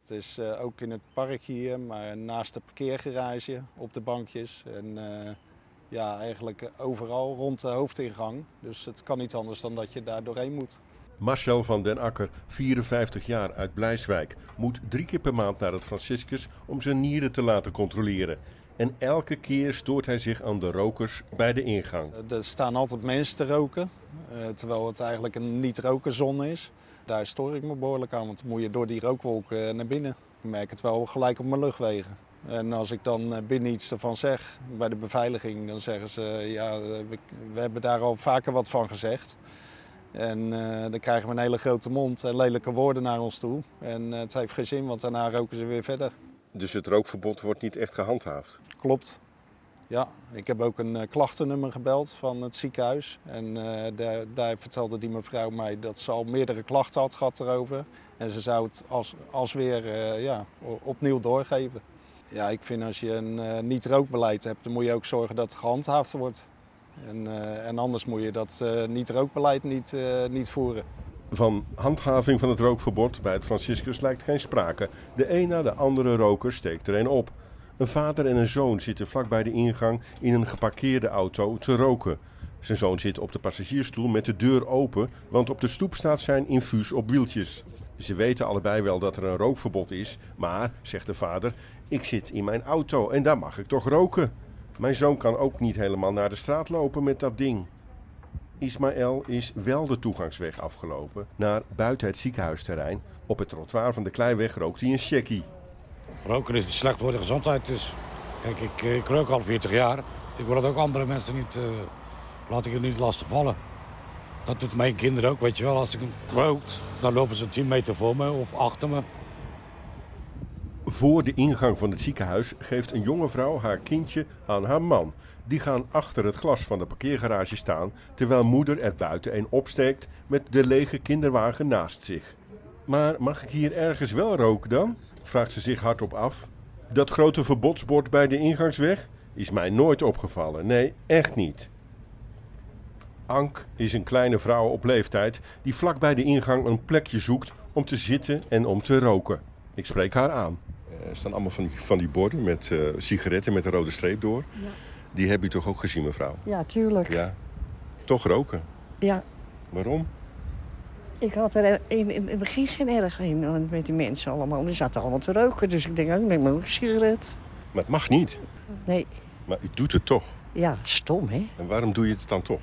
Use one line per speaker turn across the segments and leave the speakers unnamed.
Het is eh, ook in het park hier, maar naast de parkeergarage, op de bankjes. En eh, ja, eigenlijk overal rond de hoofdingang. Dus het kan niet anders dan dat je daar doorheen moet.
Marcel van den Akker, 54 jaar uit Blijswijk, moet drie keer per maand naar het Franciscus om zijn nieren te laten controleren. En elke keer stoort hij zich aan de rokers bij de ingang.
Eh, Er staan altijd mensen te roken, eh, terwijl het eigenlijk een niet-rokerzon is. Daar stoor ik me behoorlijk aan, want dan moet je door die rookwolk eh, naar binnen. Ik merk het wel gelijk op mijn luchtwegen. En als ik dan eh, binnen iets ervan zeg bij de beveiliging, dan zeggen ze: eh, Ja, eh, we, we hebben daar al vaker wat van gezegd. En eh, dan krijgen we een hele grote mond en lelijke woorden naar ons toe. En eh, het heeft geen zin, want daarna roken ze weer verder.
Dus het rookverbod wordt niet echt gehandhaafd.
Klopt. Ja, ik heb ook een eh, klachtennummer gebeld van het ziekenhuis. En eh, daar, daar vertelde die mevrouw mij dat ze al meerdere klachten had gehad erover. En ze zou het als, als weer eh, ja, o- opnieuw doorgeven. Ja, ik vind als je een eh, niet-rookbeleid hebt, dan moet je ook zorgen dat het gehandhaafd wordt. En, eh, en anders moet je dat eh, niet-rookbeleid niet, eh, niet voeren.
Van handhaving van het rookverbod bij het Franciscus lijkt geen sprake. De een na de andere roker steekt er een op. Een vader en een zoon zitten vlakbij de ingang in een geparkeerde auto te roken. Zijn zoon zit op de passagiersstoel met de deur open, want op de stoep staat zijn infuus op wieltjes. Ze weten allebei wel dat er een rookverbod is, maar, zegt de vader, ik zit in mijn auto en daar mag ik toch roken. Mijn zoon kan ook niet helemaal naar de straat lopen met dat ding. Ismaël is wel de toegangsweg afgelopen naar buiten het ziekenhuisterrein. Op het trottoir van de Kleiweg rookt hij een checkie.
Roken is slecht voor de gezondheid. Dus. Kijk, ik, eh, ik rook al 40 jaar. Ik wil dat ook andere mensen niet... eh, laat ik het niet lastig vallen. Dat doet mijn kinderen ook, weet je wel. Als ik rook, dan lopen ze 10 meter voor me of achter me.
Voor de ingang van het ziekenhuis geeft een jonge vrouw haar kindje aan haar man. Die gaan achter het glas van de parkeergarage staan, terwijl moeder er buiten een opsteekt met de lege kinderwagen naast zich. Maar mag ik hier ergens wel roken dan? vraagt ze zich hardop af. Dat grote verbodsbord bij de ingangsweg is mij nooit opgevallen. Nee, echt niet. Ank is een kleine vrouw op leeftijd die vlak bij de ingang een plekje zoekt om te zitten en om te roken. Ik spreek haar aan. Er Eh, staan allemaal van die, van die borden met eh, sigaretten met een rode streep door. Die heb je toch ook gezien, mevrouw?
Ja, tuurlijk. Ja.
Ja. Toch roken. Waarom?
ik had er in, in het begin geen erg in want met die mensen allemaal. Die zaten allemaal te roken, dus ik denk, oh, ik neem ook een sigaret.
Maar het mag niet.
Nee,
Maar u doet het toch.
ja, stom, hè?
En waarom doe je het dan toch?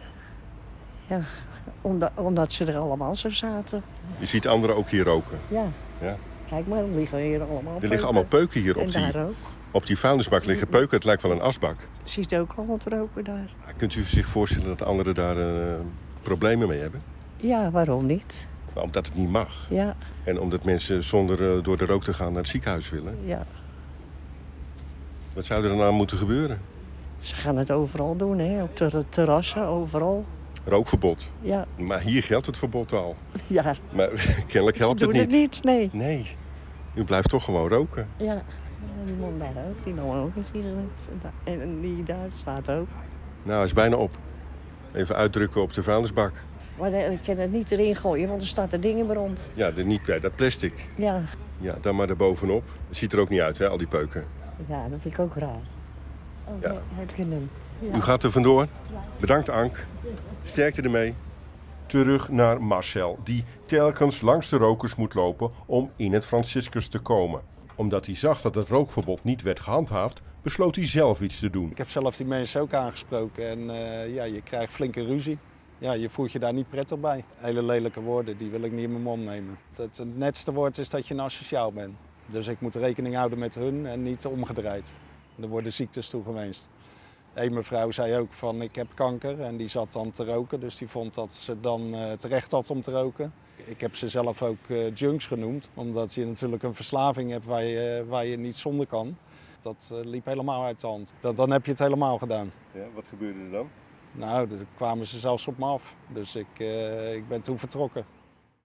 Omdat, omdat ze er allemaal zo zaten.
Je ziet anderen ook hier roken.
Ja.
Ja.
Kijk maar, er liggen hier allemaal
Er liggen allemaal peuken hier op
En
die,
daar ook.
op die vuilnisbak liggen peuken. Het lijkt wel een asbak.
Ziet ook allemaal te roken daar.
Maar Kunt u zich voorstellen dat anderen daar eh, problemen mee hebben?
Ja, waarom niet?
Maar omdat het niet mag.
Ja,
En omdat mensen zonder eh, door de rook te gaan naar het ziekenhuis willen.
ja.
Wat zou er dan aan moeten gebeuren?
Ze gaan het overal doen, hè? Op de terrassen, overal.
Rookverbod.
Ja,
Maar hier geldt het verbod al.
ja.
Maar kennelijk helpt
Ze
het
Dus doen
niet.
het niet, nee.
Nee, u blijft toch gewoon roken.
Ja, ja, die man daar ook, die nam ook een sigaret. En da- En, en die daar staat ook.
Nou, hij is bijna op. Even uitdrukken op de vuilnisbak.
Maar de- ik kan het niet erin gooien, want er staat er dingen brand.
Ja, er niet bij dat plastic.
Ja.
Ja, dan maar erbovenop. Het ziet er ook niet uit, hè, al die peuken.
ja, dat vind ik ook raar. Oh,
Ja.
daar heb je hem. Ja.
U gaat er vandoor. Bedankt, Ank. Sterkte ermee. Terug naar Marcel, die telkens langs de rokers moet lopen om in het Franciscus te komen. Omdat hij zag dat het rookverbod niet werd gehandhaafd, besloot hij zelf iets te doen.
Ik heb zelf die mensen ook aangesproken en eh, ja, je krijgt flinke ruzie. Ja, je voelt je daar niet prettig bij. Hele lelijke woorden, die wil ik niet in mijn mond nemen. Het, het netste woord is dat je een asociaal bent. Dus ik moet rekening houden met hun en niet omgedraaid. Er worden ziektes toegewenst. Eén mevrouw zei ook van ik heb kanker en die zat dan te roken. Dus die vond dat ze dan eh, het recht had om te roken. Ik heb ze zelf ook eh, junks genoemd. Omdat je natuurlijk een verslaving hebt waar je, waar je niet zonder kan. Dat eh, liep helemaal uit de hand. Dat, dan heb je het helemaal gedaan.
wat gebeurde er dan?
Nou, dan kwamen ze zelfs op me af. Dus ik, eh, ik ben toen vertrokken.